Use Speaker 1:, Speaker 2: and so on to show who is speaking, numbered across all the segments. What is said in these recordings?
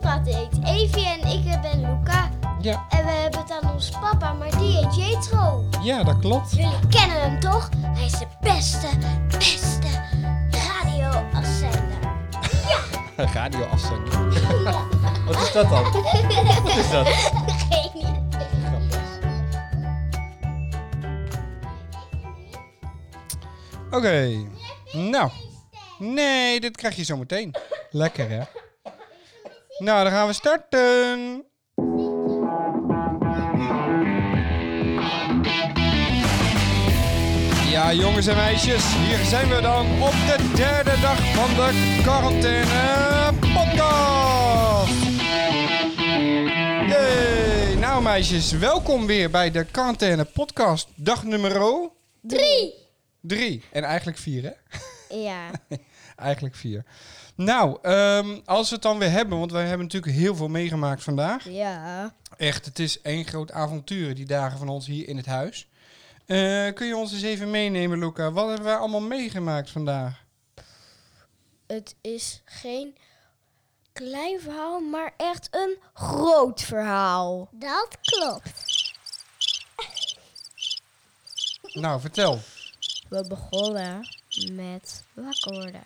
Speaker 1: gaat eet. Evie en ik ben Luca.
Speaker 2: Ja,
Speaker 1: En we hebben het aan ons papa, maar die heet Jetro.
Speaker 2: ja, dat klopt.
Speaker 1: Jullie kennen hem toch? Hij is de beste, beste radioafzender.
Speaker 2: Radioafzender. Wat is dat dan? Wat is dat?
Speaker 1: Geen idee.
Speaker 2: Grappig. Oké. Nou. Nee, dit krijg je zo meteen. Lekker, hè? Nou, dan gaan we starten. Ja, jongens en meisjes, hier zijn we dan op de derde dag van de quarantaine podcast. Hey, nou meisjes, welkom weer bij de quarantaine podcast, dag nummer
Speaker 1: Drie.
Speaker 2: drie. En eigenlijk vier, hè?
Speaker 1: Ja.
Speaker 2: Eigenlijk vier. Nou, ehm, als we het dan weer hebben, want wij hebben natuurlijk heel veel meegemaakt vandaag.
Speaker 1: Ja.
Speaker 2: Echt, het is één groot avontuur, die dagen van ons hier in het huis. Eh, kun je ons eens even meenemen, Luca? Wat hebben wij allemaal meegemaakt vandaag?
Speaker 1: Het is geen klein verhaal, maar echt een groot verhaal. Dat klopt.
Speaker 2: Nou, vertel.
Speaker 1: We begonnen met wakker worden.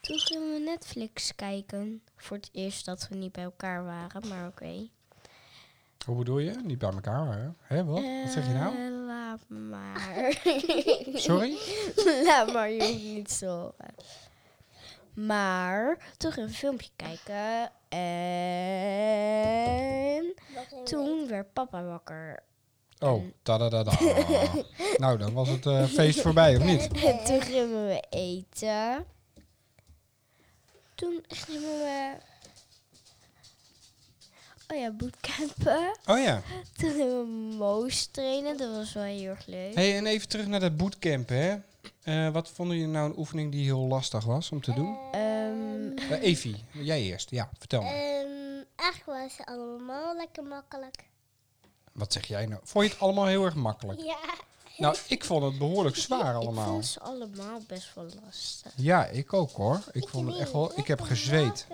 Speaker 1: Toen gingen we Netflix kijken. Voor het eerst dat we niet bij elkaar waren, maar oké.
Speaker 2: Hoe bedoel je? Niet bij elkaar, waren. Hé, wat? Wat zeg je nou?
Speaker 1: Eh, laat maar.
Speaker 2: Sorry?
Speaker 1: laat maar, je hoeft niet te horen. Maar toen gingen we een filmpje kijken en toen werd papa wakker.
Speaker 2: Oh, tadadada. nou, dan was het eh, feest voorbij, of niet?
Speaker 1: En toen gingen we eten. Toen gingen we. Oh ja, bootcampen.
Speaker 2: Oh ja.
Speaker 1: Toen gingen we Moos trainen. Dat was wel heel erg leuk.
Speaker 2: hey, en even terug naar dat bootcamp, hè? Eh, wat vonden jullie nou een oefening die heel lastig was om te doen?
Speaker 1: Ehm,
Speaker 2: Eh, Evie, jij eerst. Ja, vertel
Speaker 1: Eh.
Speaker 2: me.
Speaker 3: Ehm, eigenlijk waren ze allemaal lekker makkelijk.
Speaker 2: Wat zeg jij nou? Vond je het allemaal heel erg makkelijk?
Speaker 3: Ja.
Speaker 2: Nou, ik vond het behoorlijk zwaar
Speaker 1: Ik
Speaker 2: allemaal.
Speaker 1: vond ze allemaal best wel lastig.
Speaker 2: Ja, ik ook hoor. Ik vond het echt wel... Ik heb gezweet.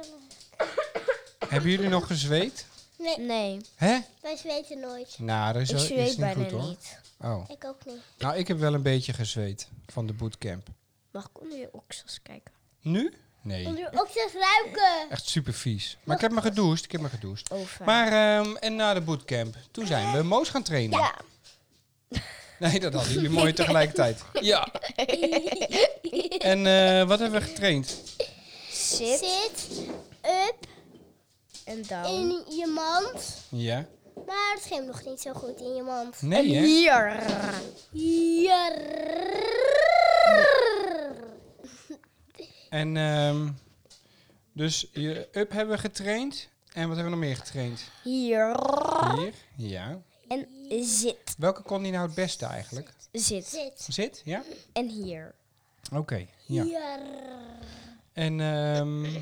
Speaker 2: Hebben jullie nog gezweet?
Speaker 3: Nee,
Speaker 1: Nee,
Speaker 2: Hè?
Speaker 3: wij zweten nooit.
Speaker 2: Nou, dat is,
Speaker 1: ik
Speaker 2: is
Speaker 1: zweet
Speaker 2: niet
Speaker 1: bijna
Speaker 2: goed hoor.
Speaker 1: niet.
Speaker 2: Oh.
Speaker 3: Ik ook niet.
Speaker 2: Nou, ik heb wel een beetje gezweet van de bootcamp.
Speaker 1: Mag ik onder je oksels kijken?
Speaker 2: Nu? Nee.
Speaker 3: je ook zelfs ruiken.
Speaker 2: Echt super vies. Maar ik heb me gedoucht. Ik heb me gedoucht.
Speaker 1: Over.
Speaker 2: Maar, ehm, en na de bootcamp, toen zijn we Moos gaan trainen.
Speaker 1: Ja.
Speaker 2: Nee, dat hadden jullie mooi tegelijkertijd. Ja. En eh, wat hebben we getraind?
Speaker 1: Zit
Speaker 3: Zit up
Speaker 1: en down.
Speaker 3: in je mand.
Speaker 2: Ja.
Speaker 3: Maar het ging nog niet zo goed in je mand.
Speaker 2: Nee, hè?
Speaker 1: Hier.
Speaker 3: Ja.
Speaker 2: En ehm, dus je up hebben we getraind. En wat hebben we nog meer getraind?
Speaker 1: Hier. Oh.
Speaker 2: Hier. Ja.
Speaker 1: En zit.
Speaker 2: Welke kon die nou het beste eigenlijk?
Speaker 1: Zit.
Speaker 3: Zit.
Speaker 2: Zit? Ja?
Speaker 1: En hier.
Speaker 2: Oké. Ja. En ehm,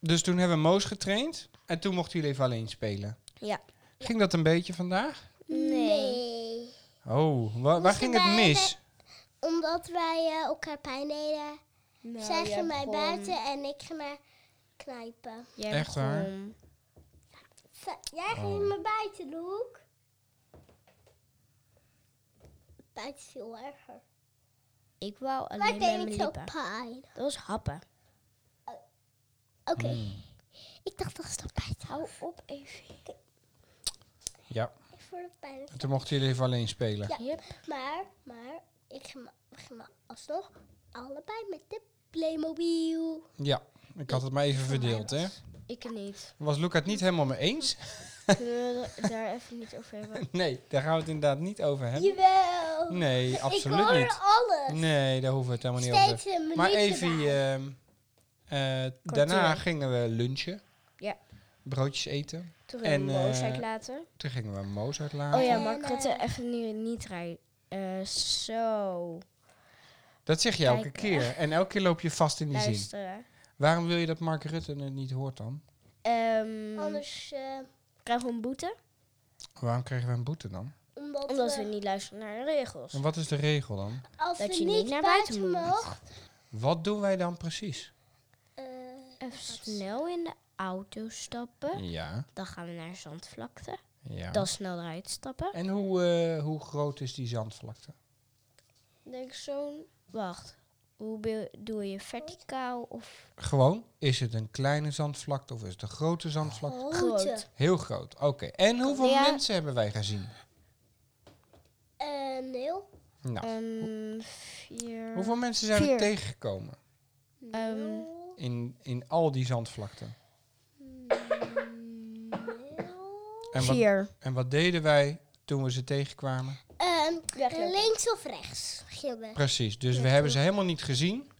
Speaker 2: dus toen hebben we Moos getraind. En toen mochten jullie even alleen spelen.
Speaker 1: Ja.
Speaker 2: Ging dat een beetje vandaag?
Speaker 3: Nee.
Speaker 2: Oh, wa- waar,
Speaker 3: Moesten
Speaker 2: ging het
Speaker 3: wij
Speaker 2: mis?
Speaker 3: Omdat wij eh, elkaar pijn deden.
Speaker 1: Nou,
Speaker 3: Zij
Speaker 1: jij
Speaker 3: ging mij
Speaker 1: begon-
Speaker 3: buiten en ik ging naar knijpen.
Speaker 1: jij
Speaker 2: Echt waar?
Speaker 1: begon.
Speaker 3: Zij- Jij ging me buiten, Loek. Buiten is veel erger.
Speaker 1: Ik wou
Speaker 3: Maar
Speaker 1: alleen
Speaker 3: ik
Speaker 1: met
Speaker 3: deed
Speaker 1: mijn
Speaker 3: niet zo
Speaker 1: lippen.
Speaker 3: pijn.
Speaker 1: Dat was happen.
Speaker 3: Oké.
Speaker 1: Hmm.
Speaker 3: Ik dacht dat is dat buiten. Hou op even.
Speaker 2: Ja.
Speaker 3: Ik voel het pijn.
Speaker 2: En toen mochten jullie even alleen spelen.
Speaker 3: eh, Ja,
Speaker 1: Yep.
Speaker 3: maar, maar, ik ging, ging alsnog allebei met de Playmobil.
Speaker 2: Ja. Ik had het maar even verdeeld, hè?
Speaker 1: Ik niet.
Speaker 2: Was Luca het niet helemaal mee eens?
Speaker 1: Kunnen we het daar even niet over hebben?
Speaker 2: Nee, daar gaan we het inderdaad niet over hebben.
Speaker 3: Jawel.
Speaker 2: Nee,
Speaker 3: ik
Speaker 2: absoluut
Speaker 3: hoor
Speaker 2: niet.
Speaker 3: alles.
Speaker 2: Nee, daar hoeven we het helemaal niet over te
Speaker 3: Steeds een minuut
Speaker 2: Maar
Speaker 3: erbij.
Speaker 2: even, ehm, eh, daarna gingen we lunchen.
Speaker 1: Ja.
Speaker 2: Broodjes eten.
Speaker 1: Toen
Speaker 2: En,
Speaker 1: gingen we Moos
Speaker 2: eh, Ah.
Speaker 1: uitlaten.
Speaker 2: Toen gingen we Moos uitlaten.
Speaker 1: Oh ja,
Speaker 3: en,
Speaker 1: maar ik had er
Speaker 3: eh,
Speaker 1: even nu niet rijden. Eh, zo.
Speaker 2: Dat zeg je elke
Speaker 1: Kijk,
Speaker 2: keer. En elke keer loop je vast in die zin.
Speaker 1: Luisteren.
Speaker 2: Waarom wil je dat Mark Rutte het niet hoort dan?
Speaker 1: Ehm,
Speaker 3: Anders, eh,
Speaker 1: krijgen we een boete?
Speaker 2: Waarom krijgen we een boete dan?
Speaker 3: omdat,
Speaker 1: Omdat
Speaker 3: we,
Speaker 1: we niet luisteren naar de regels.
Speaker 2: En wat is de regel dan?
Speaker 3: als
Speaker 1: dat
Speaker 3: we
Speaker 1: je niet naar buiten moet.
Speaker 3: mogen,
Speaker 2: Wat doen wij dan precies?
Speaker 3: eh,
Speaker 1: even snel in de auto stappen.
Speaker 2: Ja,
Speaker 1: Dan gaan we naar zandvlakte.
Speaker 2: ja.
Speaker 1: Dan snel eruit stappen.
Speaker 2: En hoe, eh, hoe groot is die zandvlakte?
Speaker 1: Denk zo'n... Wacht. Hoe be- doe je verticaal of
Speaker 2: Gewoon, is het een kleine zandvlakte of is het een grote zandvlakte?
Speaker 3: Grote.
Speaker 1: groot?
Speaker 2: Heel groot, oké. En hoeveel
Speaker 1: Ja.
Speaker 2: mensen hebben wij gezien?
Speaker 3: Een heel.
Speaker 2: Nou,
Speaker 1: Ehm vier...
Speaker 2: hoeveel mensen zijn we
Speaker 1: Vier.
Speaker 2: tegengekomen
Speaker 1: Ehm,
Speaker 2: in, in al die zandvlakten? En wat,
Speaker 1: vier.
Speaker 2: en wat deden wij toen we ze tegenkwamen?
Speaker 3: Ehm,
Speaker 1: Weglopen.
Speaker 3: links of rechts, Gilbert?
Speaker 2: Precies, dus we hebben ze helemaal niet gezien.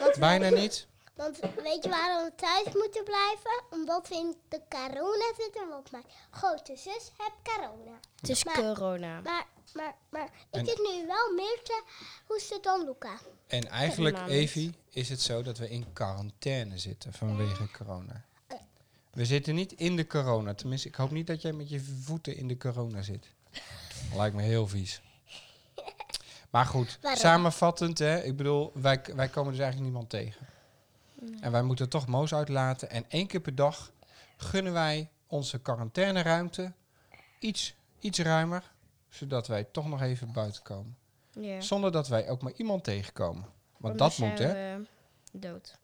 Speaker 3: Want
Speaker 2: Bijna
Speaker 3: wij-
Speaker 2: niet.
Speaker 3: Want weet je waarom we thuis moeten blijven? Omdat we in de corona zitten. Want mijn grote zus heeft corona.
Speaker 1: Het is
Speaker 3: Maar-
Speaker 1: corona.
Speaker 3: Maar, maar, maar
Speaker 2: En-
Speaker 3: ik zit nu wel meer te hoesten dan Luca.
Speaker 2: En eigenlijk,
Speaker 1: Helemaal niet.
Speaker 2: Evi, is het zo dat we in quarantaine zitten vanwege corona. We zitten niet in de corona. Tenminste, ik hoop niet dat jij met je voeten in de corona zit. Lijkt me heel vies. Maar goed,
Speaker 3: Waarom?
Speaker 2: samenvattend, hè, ik bedoel, wij, wij komen dus eigenlijk niemand tegen. En wij moeten toch Moos uitlaten. En één keer per dag gunnen wij onze quarantaineruimte iets, iets ruimer, zodat wij toch nog even buiten komen.
Speaker 1: Ja.
Speaker 2: Zonder dat wij ook maar iemand tegenkomen. Want
Speaker 1: Anders
Speaker 2: dat moet,
Speaker 1: zijn
Speaker 2: hè?
Speaker 1: we Dood.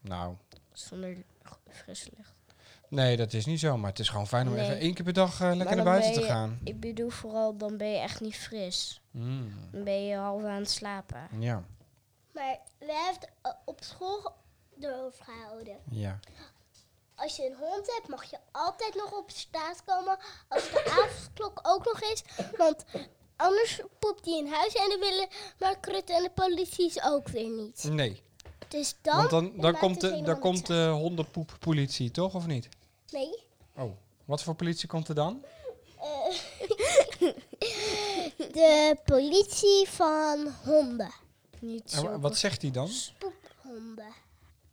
Speaker 2: Nou,
Speaker 1: Zonder g- frisse lucht.
Speaker 2: nee, dat is niet zo. Maar het is gewoon fijn om
Speaker 1: Nee.
Speaker 2: even één keer per dag eh, lekker
Speaker 1: dan
Speaker 2: naar buiten
Speaker 1: ben
Speaker 2: te
Speaker 1: je-
Speaker 2: gaan.
Speaker 1: Ik bedoel vooral, dan ben je echt niet fris.
Speaker 2: Mm,
Speaker 1: Dan ben je half aan het slapen.
Speaker 2: Ja,
Speaker 3: Maar we hebben het eh, op school erover gehouden.
Speaker 2: ja.
Speaker 3: Als je een hond hebt, mag je altijd nog op straat komen. Als de avondklok ook nog is. Want anders poept hij in huis. En dan willen maar Krut en de politie ook weer niet.
Speaker 2: Nee,
Speaker 3: Dus dan...
Speaker 2: Mm. want dan, dan
Speaker 3: maakt
Speaker 2: komt
Speaker 3: het
Speaker 2: de,
Speaker 3: helemaal
Speaker 2: dan
Speaker 3: niks
Speaker 2: komt de hondenpoeppolitie, toch? Of niet?
Speaker 3: uit. Nee.
Speaker 2: Oh, wat voor politie komt er dan?
Speaker 3: Eh, de politie van honden.
Speaker 1: Niet
Speaker 2: En wa-
Speaker 1: zo.
Speaker 2: wat zegt hij dan?
Speaker 3: Poephonden.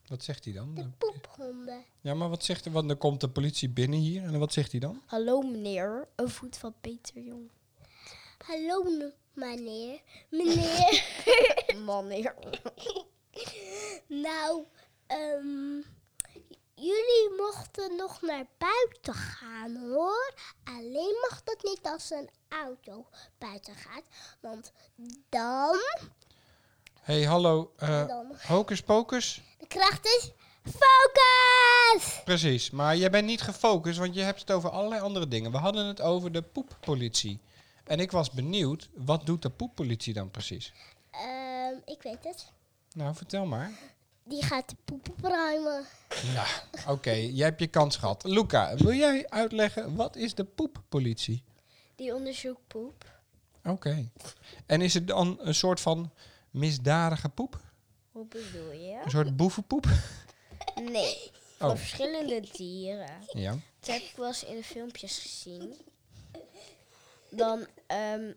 Speaker 2: Wat zegt hij
Speaker 3: De
Speaker 2: dan?
Speaker 3: poephonden.
Speaker 2: Ja, maar wat zegt hij? Want dan komt de politie binnen hier. En wat zegt hij dan?
Speaker 1: Hallo meneer, een voet van Peter Jong.
Speaker 3: Hallo meneer. Meneer.
Speaker 1: Meneer.
Speaker 3: nou, ehm, jullie mochten nog naar buiten gaan hoor. Alleen mag dat niet als een auto buiten gaat. Want dan,
Speaker 2: Hé, hey, hallo. eh,
Speaker 3: dan.
Speaker 2: hocus pocus.
Speaker 3: de kracht is focus.
Speaker 2: Precies, maar jij bent niet gefocust, want je hebt het over allerlei andere dingen. We hadden het over de poeppolitie. En ik was benieuwd, wat doet de poeppolitie dan precies?
Speaker 3: Ehm, ik weet het.
Speaker 2: Nou, vertel maar.
Speaker 3: Die gaat de poep opruimen.
Speaker 2: Nou, oké, jij hebt je kans gehad. Luca, wil jij uitleggen, wat is de poeppolitie?
Speaker 1: Die onderzoekt poep.
Speaker 2: Oké. En is het dan een soort van misdadige poep?
Speaker 1: Hoe bedoel je?
Speaker 2: Een soort boevenpoep?
Speaker 1: Nee. Van
Speaker 2: Oh,
Speaker 1: verschillende dieren.
Speaker 2: ja.
Speaker 1: Dat heb ik wel eens in de filmpjes gezien. Dan ehm,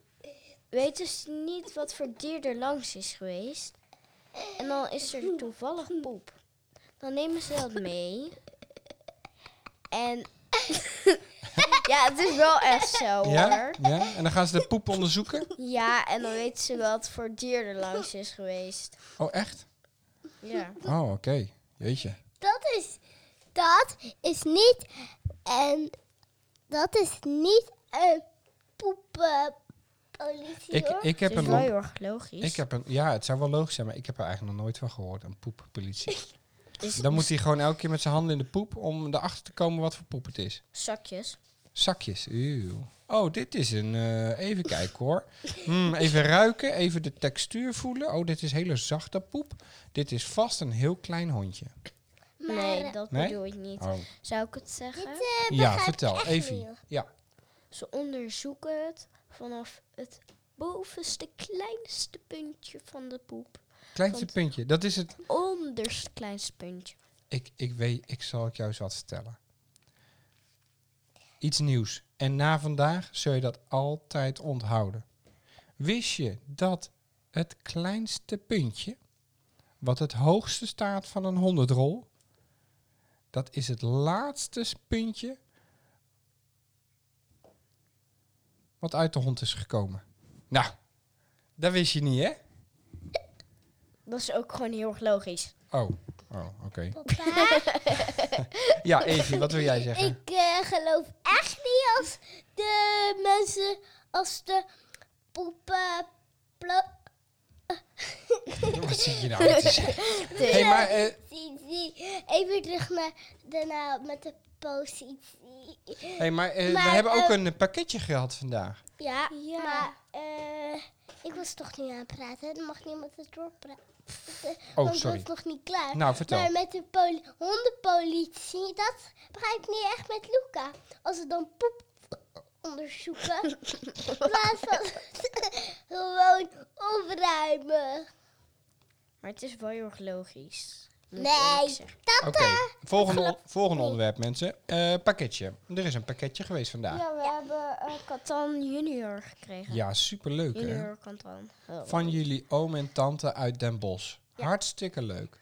Speaker 1: weten ze niet wat voor dier er langs is geweest. En dan is er toevallig poep. Dan nemen ze dat mee. En. ja, het is wel echt zo hoor.
Speaker 2: Ja?
Speaker 1: Ja?
Speaker 2: Ja? En dan gaan ze de poep onderzoeken?
Speaker 1: en dan weten ze wel wat voor dier er langs is geweest.
Speaker 2: Oh, echt?
Speaker 1: Ja.
Speaker 2: Oh, oké. Jeetje.
Speaker 3: Dat is, dat is niet en dat is niet een poepenpolitie
Speaker 2: Ik,
Speaker 3: hoor.
Speaker 2: ik
Speaker 1: Het
Speaker 2: heb
Speaker 1: is
Speaker 2: een
Speaker 1: wel
Speaker 2: mond.
Speaker 1: heel erg logisch.
Speaker 2: Ik heb een, ja, het zou wel logisch zijn, maar ik heb er eigenlijk nog nooit van gehoord, een poeppolitie.
Speaker 1: Is
Speaker 2: Dan moet hij gewoon elke keer met zijn handen in de poep om erachter te komen wat voor poep het is.
Speaker 1: Zakjes.
Speaker 2: Zakjes, uw. Oh, dit is een, eh, even kijken hoor. Hmm, even ruiken, even de textuur voelen. Oh, dit is hele zachte poep. Dit is vast een heel klein hondje.
Speaker 3: maar
Speaker 1: nee,
Speaker 3: eh,
Speaker 1: dat
Speaker 2: Nee?
Speaker 1: bedoel ik niet.
Speaker 2: Oh.
Speaker 1: Zou ik het zeggen?
Speaker 3: dit eh,
Speaker 2: Ja,
Speaker 3: begrijp ik
Speaker 2: vertel,
Speaker 3: Eh, echt
Speaker 2: Evie.
Speaker 3: niet, hoor.
Speaker 2: Ja,
Speaker 1: Ze onderzoeken het vanaf het bovenste kleinste puntje van de poep.
Speaker 2: kleinste
Speaker 1: Want-
Speaker 2: puntje. Dat is het.
Speaker 1: Onderste kleinste puntje.
Speaker 2: Ik, ik weet, ik zal het jou eens wat vertellen. Iets nieuws. En na vandaag zul je dat altijd onthouden. Wist je dat het kleinste puntje, wat het hoogste staat van een honderdrol, dat is het laatste s- puntje wat uit de hond is gekomen? Nou, dat wist je niet, hè?
Speaker 1: Dat is ook gewoon heel erg logisch.
Speaker 2: Oh, Oh, oké.
Speaker 3: Papa,
Speaker 2: Ja, Evie, wat wil jij zeggen?
Speaker 3: ik eh, geloof echt niet als de mensen, als de poepen... pla-
Speaker 2: Wat zit je nou weer te zeggen? Hey, maar eh,
Speaker 3: positie. Even terug naar daarna met de positie.
Speaker 2: hey, maar, eh, we
Speaker 3: Maar,
Speaker 2: hebben ook
Speaker 3: eh,
Speaker 2: een eh, pakketje gehad vandaag.
Speaker 3: Ja, maar eh, ik was toch niet aan het praten. Dan mag niemand het doorpraten. want
Speaker 2: Oh, sorry.
Speaker 3: het was nog niet klaar.
Speaker 2: Nou, vertel.
Speaker 3: Maar met de poli- hondenpolitie, dat begrijp ik niet echt met Luca. Als ze dan poep onderzoeken, in plaats van gewoon opruimen.
Speaker 1: Maar het is wel heel erg logisch. moet ik
Speaker 3: Nee.
Speaker 1: eerlijk zeggen.
Speaker 2: Oké, volgende, on- volgende onderwerp, mensen. Eh, pakketje. Er is een pakketje geweest vandaag.
Speaker 1: Ja, we hebben eh Katan junior gekregen.
Speaker 2: Ja, superleuk hè?
Speaker 1: Junior Katan. Oh.
Speaker 2: Van jullie oom en tante uit Den Bosch. Hartstikke leuk.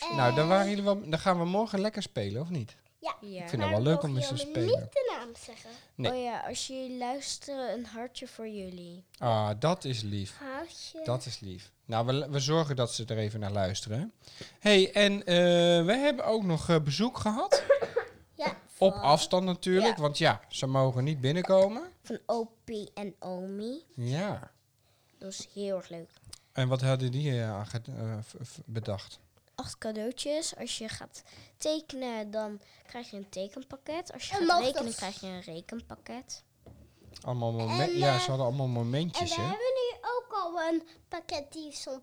Speaker 3: Eh.
Speaker 2: Nou, dan, waren jullie wel, dan gaan we morgen lekker spelen, of niet?
Speaker 3: Ja.
Speaker 1: Ja.
Speaker 2: Ik vind het
Speaker 3: Maar
Speaker 2: wel leuk om
Speaker 3: mogen
Speaker 2: eens te
Speaker 3: jullie
Speaker 2: spelen.
Speaker 3: niet de naam zeggen.
Speaker 2: Nee.
Speaker 1: Oh ja, als jullie luisteren, een hartje voor jullie.
Speaker 2: Ah, dat is lief.
Speaker 3: Haasje.
Speaker 2: Dat is lief. Nou, we, we zorgen dat ze er even naar luisteren. hey, en eh, we hebben ook nog eh, bezoek gehad.
Speaker 3: Ja.
Speaker 2: Op afstand natuurlijk, want ja, ze mogen niet binnenkomen.
Speaker 1: Van Opie en Omi.
Speaker 2: Ja.
Speaker 1: Dat is heel erg leuk.
Speaker 2: En wat hadden die eh, aan ged- eh, v- v- bedacht?
Speaker 1: Acht cadeautjes. Als je gaat tekenen, dan krijg je een tekenpakket. Als je
Speaker 3: En
Speaker 1: gaat
Speaker 3: mag dat-
Speaker 1: rekenen, krijg je een rekenpakket.
Speaker 2: Allemaal momen-
Speaker 3: En,
Speaker 2: ja,
Speaker 3: eh,
Speaker 2: ze hadden allemaal
Speaker 3: En eh, we
Speaker 2: momentjes, hè?
Speaker 3: hebben nu ook al een pakket die soms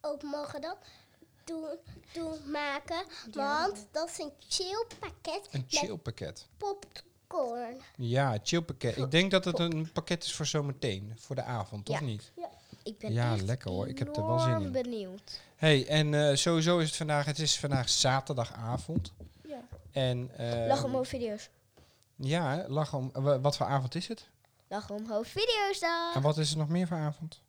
Speaker 3: ook mogen dan doen, doen maken. Want dat is een chill pakket
Speaker 2: Een
Speaker 3: met
Speaker 2: chillpakket.
Speaker 3: popcorn.
Speaker 2: Ja, een chillpakket. Ik denk dat het een pakket is voor zometeen, voor de avond, toch
Speaker 1: Ja.
Speaker 2: niet?
Speaker 1: Ik ben
Speaker 2: Ja,
Speaker 1: echt
Speaker 2: lekker hoor. Ik heb er wel zin
Speaker 1: enorm
Speaker 2: in.
Speaker 1: benieuwd.
Speaker 2: hey, en eh, sowieso is het vandaag, het is vandaag zaterdagavond.
Speaker 1: Ja.
Speaker 2: En,
Speaker 3: Ehm,
Speaker 2: eh,
Speaker 1: Lach omhoog video's.
Speaker 2: Ja, hè, lach om. wa- Wat voor avond is het?
Speaker 1: Lach omhoog video's
Speaker 2: En
Speaker 1: dan.
Speaker 2: wat is er nog meer voor avond?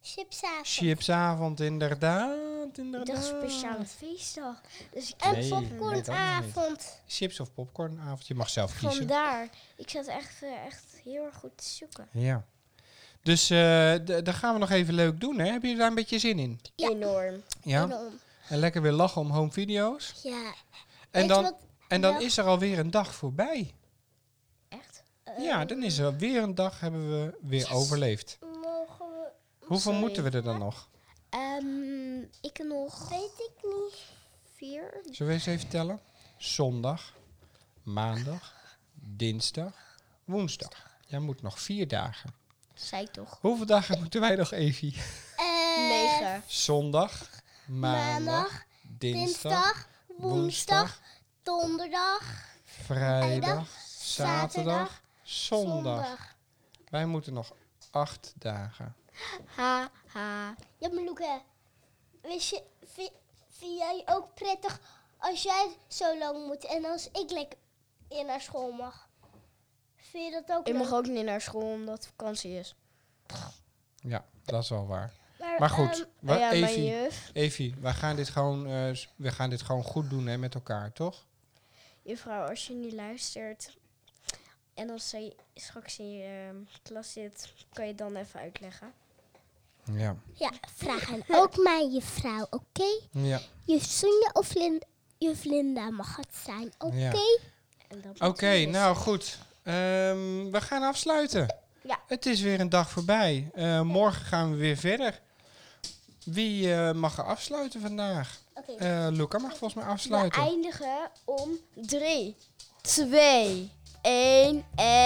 Speaker 3: Chipsavond.
Speaker 2: Chipsavond, inderdaad. inderdaad.
Speaker 1: Dat is een speciale feestdag. Dus ik
Speaker 3: En
Speaker 2: Nee, nee, dat
Speaker 3: popcornavond.
Speaker 2: Chips of popcornavond, je mag zelf kiezen.
Speaker 1: vandaar. Ik zat echt, eh, echt heel erg goed te zoeken.
Speaker 2: Ja. Dus eh d- dat gaan we nog even leuk doen, hè? Heb je daar een beetje zin in?
Speaker 3: Ja.
Speaker 1: Enorm.
Speaker 2: Ja.
Speaker 3: Waarom?
Speaker 2: En lekker weer lachen om home video's.
Speaker 3: Ja.
Speaker 2: En
Speaker 3: Weet je
Speaker 2: dan,
Speaker 3: wat?
Speaker 2: en dan
Speaker 3: Ja.
Speaker 2: is er alweer een dag voorbij.
Speaker 1: Echt?
Speaker 3: Eh. ehm,
Speaker 2: Ja, dan is er weer een dag hebben we weer overleefd.
Speaker 3: Mogen we...
Speaker 2: Hoeveel
Speaker 1: Sorry.
Speaker 2: moeten we er dan nog?
Speaker 1: Ehm, ik nog
Speaker 3: Weet ik niet.
Speaker 1: vier.
Speaker 2: Zullen we eens even tellen? Zondag, maandag, dinsdag, woensdag. Jij moet nog vier dagen.
Speaker 1: Zij toch?
Speaker 2: Hoeveel dagen moeten wij nog, Evie?
Speaker 3: Eh,
Speaker 1: Negen.
Speaker 2: Zondag, maandag,
Speaker 3: Maandag,
Speaker 2: dinsdag,
Speaker 3: dinsdag, woensdag,
Speaker 2: woensdag,
Speaker 3: donderdag, zaterdag,
Speaker 2: vrijdag, zaterdag, zondag.
Speaker 3: zondag.
Speaker 2: Wij moeten nog acht dagen.
Speaker 1: Ha, ha.
Speaker 3: Ja, maar Loeke, wist je, vi- vind jij ook prettig als jij zo lang moet en als ik lekker in naar school mag? Vind je dat ook
Speaker 1: Ik
Speaker 3: leuk?
Speaker 1: mag ook niet naar school omdat het vakantie is.
Speaker 2: Ja, dat is wel waar. Maar goed,
Speaker 3: ehm,
Speaker 2: wa-
Speaker 1: ja, mijn
Speaker 2: Evie,
Speaker 1: juf,
Speaker 2: Evie, wij gaan dit gewoon, eh, s- we gaan dit gewoon goed doen hè, met elkaar, toch?
Speaker 1: juffrouw, als je niet luistert en als zij straks in je ehm, klas zit, kan je dan even uitleggen.
Speaker 2: Ja.
Speaker 3: ja, vraag aan ook maar je vrouw, oké?
Speaker 2: ja.
Speaker 3: Je Sonja of Linda, je Linda mag het zijn, oké?
Speaker 2: Ja.
Speaker 1: En dat
Speaker 2: Oké,
Speaker 1: natuurlijk.
Speaker 2: nou goed. Ehm, we gaan afsluiten.
Speaker 1: Ja.
Speaker 2: Het is weer een dag voorbij. Eh, morgen gaan we weer verder. Wie eh, mag er afsluiten vandaag?
Speaker 3: Oké.
Speaker 2: Eh, Luca mag volgens mij
Speaker 1: We
Speaker 2: afsluiten.
Speaker 1: eindigen om 3, 2, 1 en...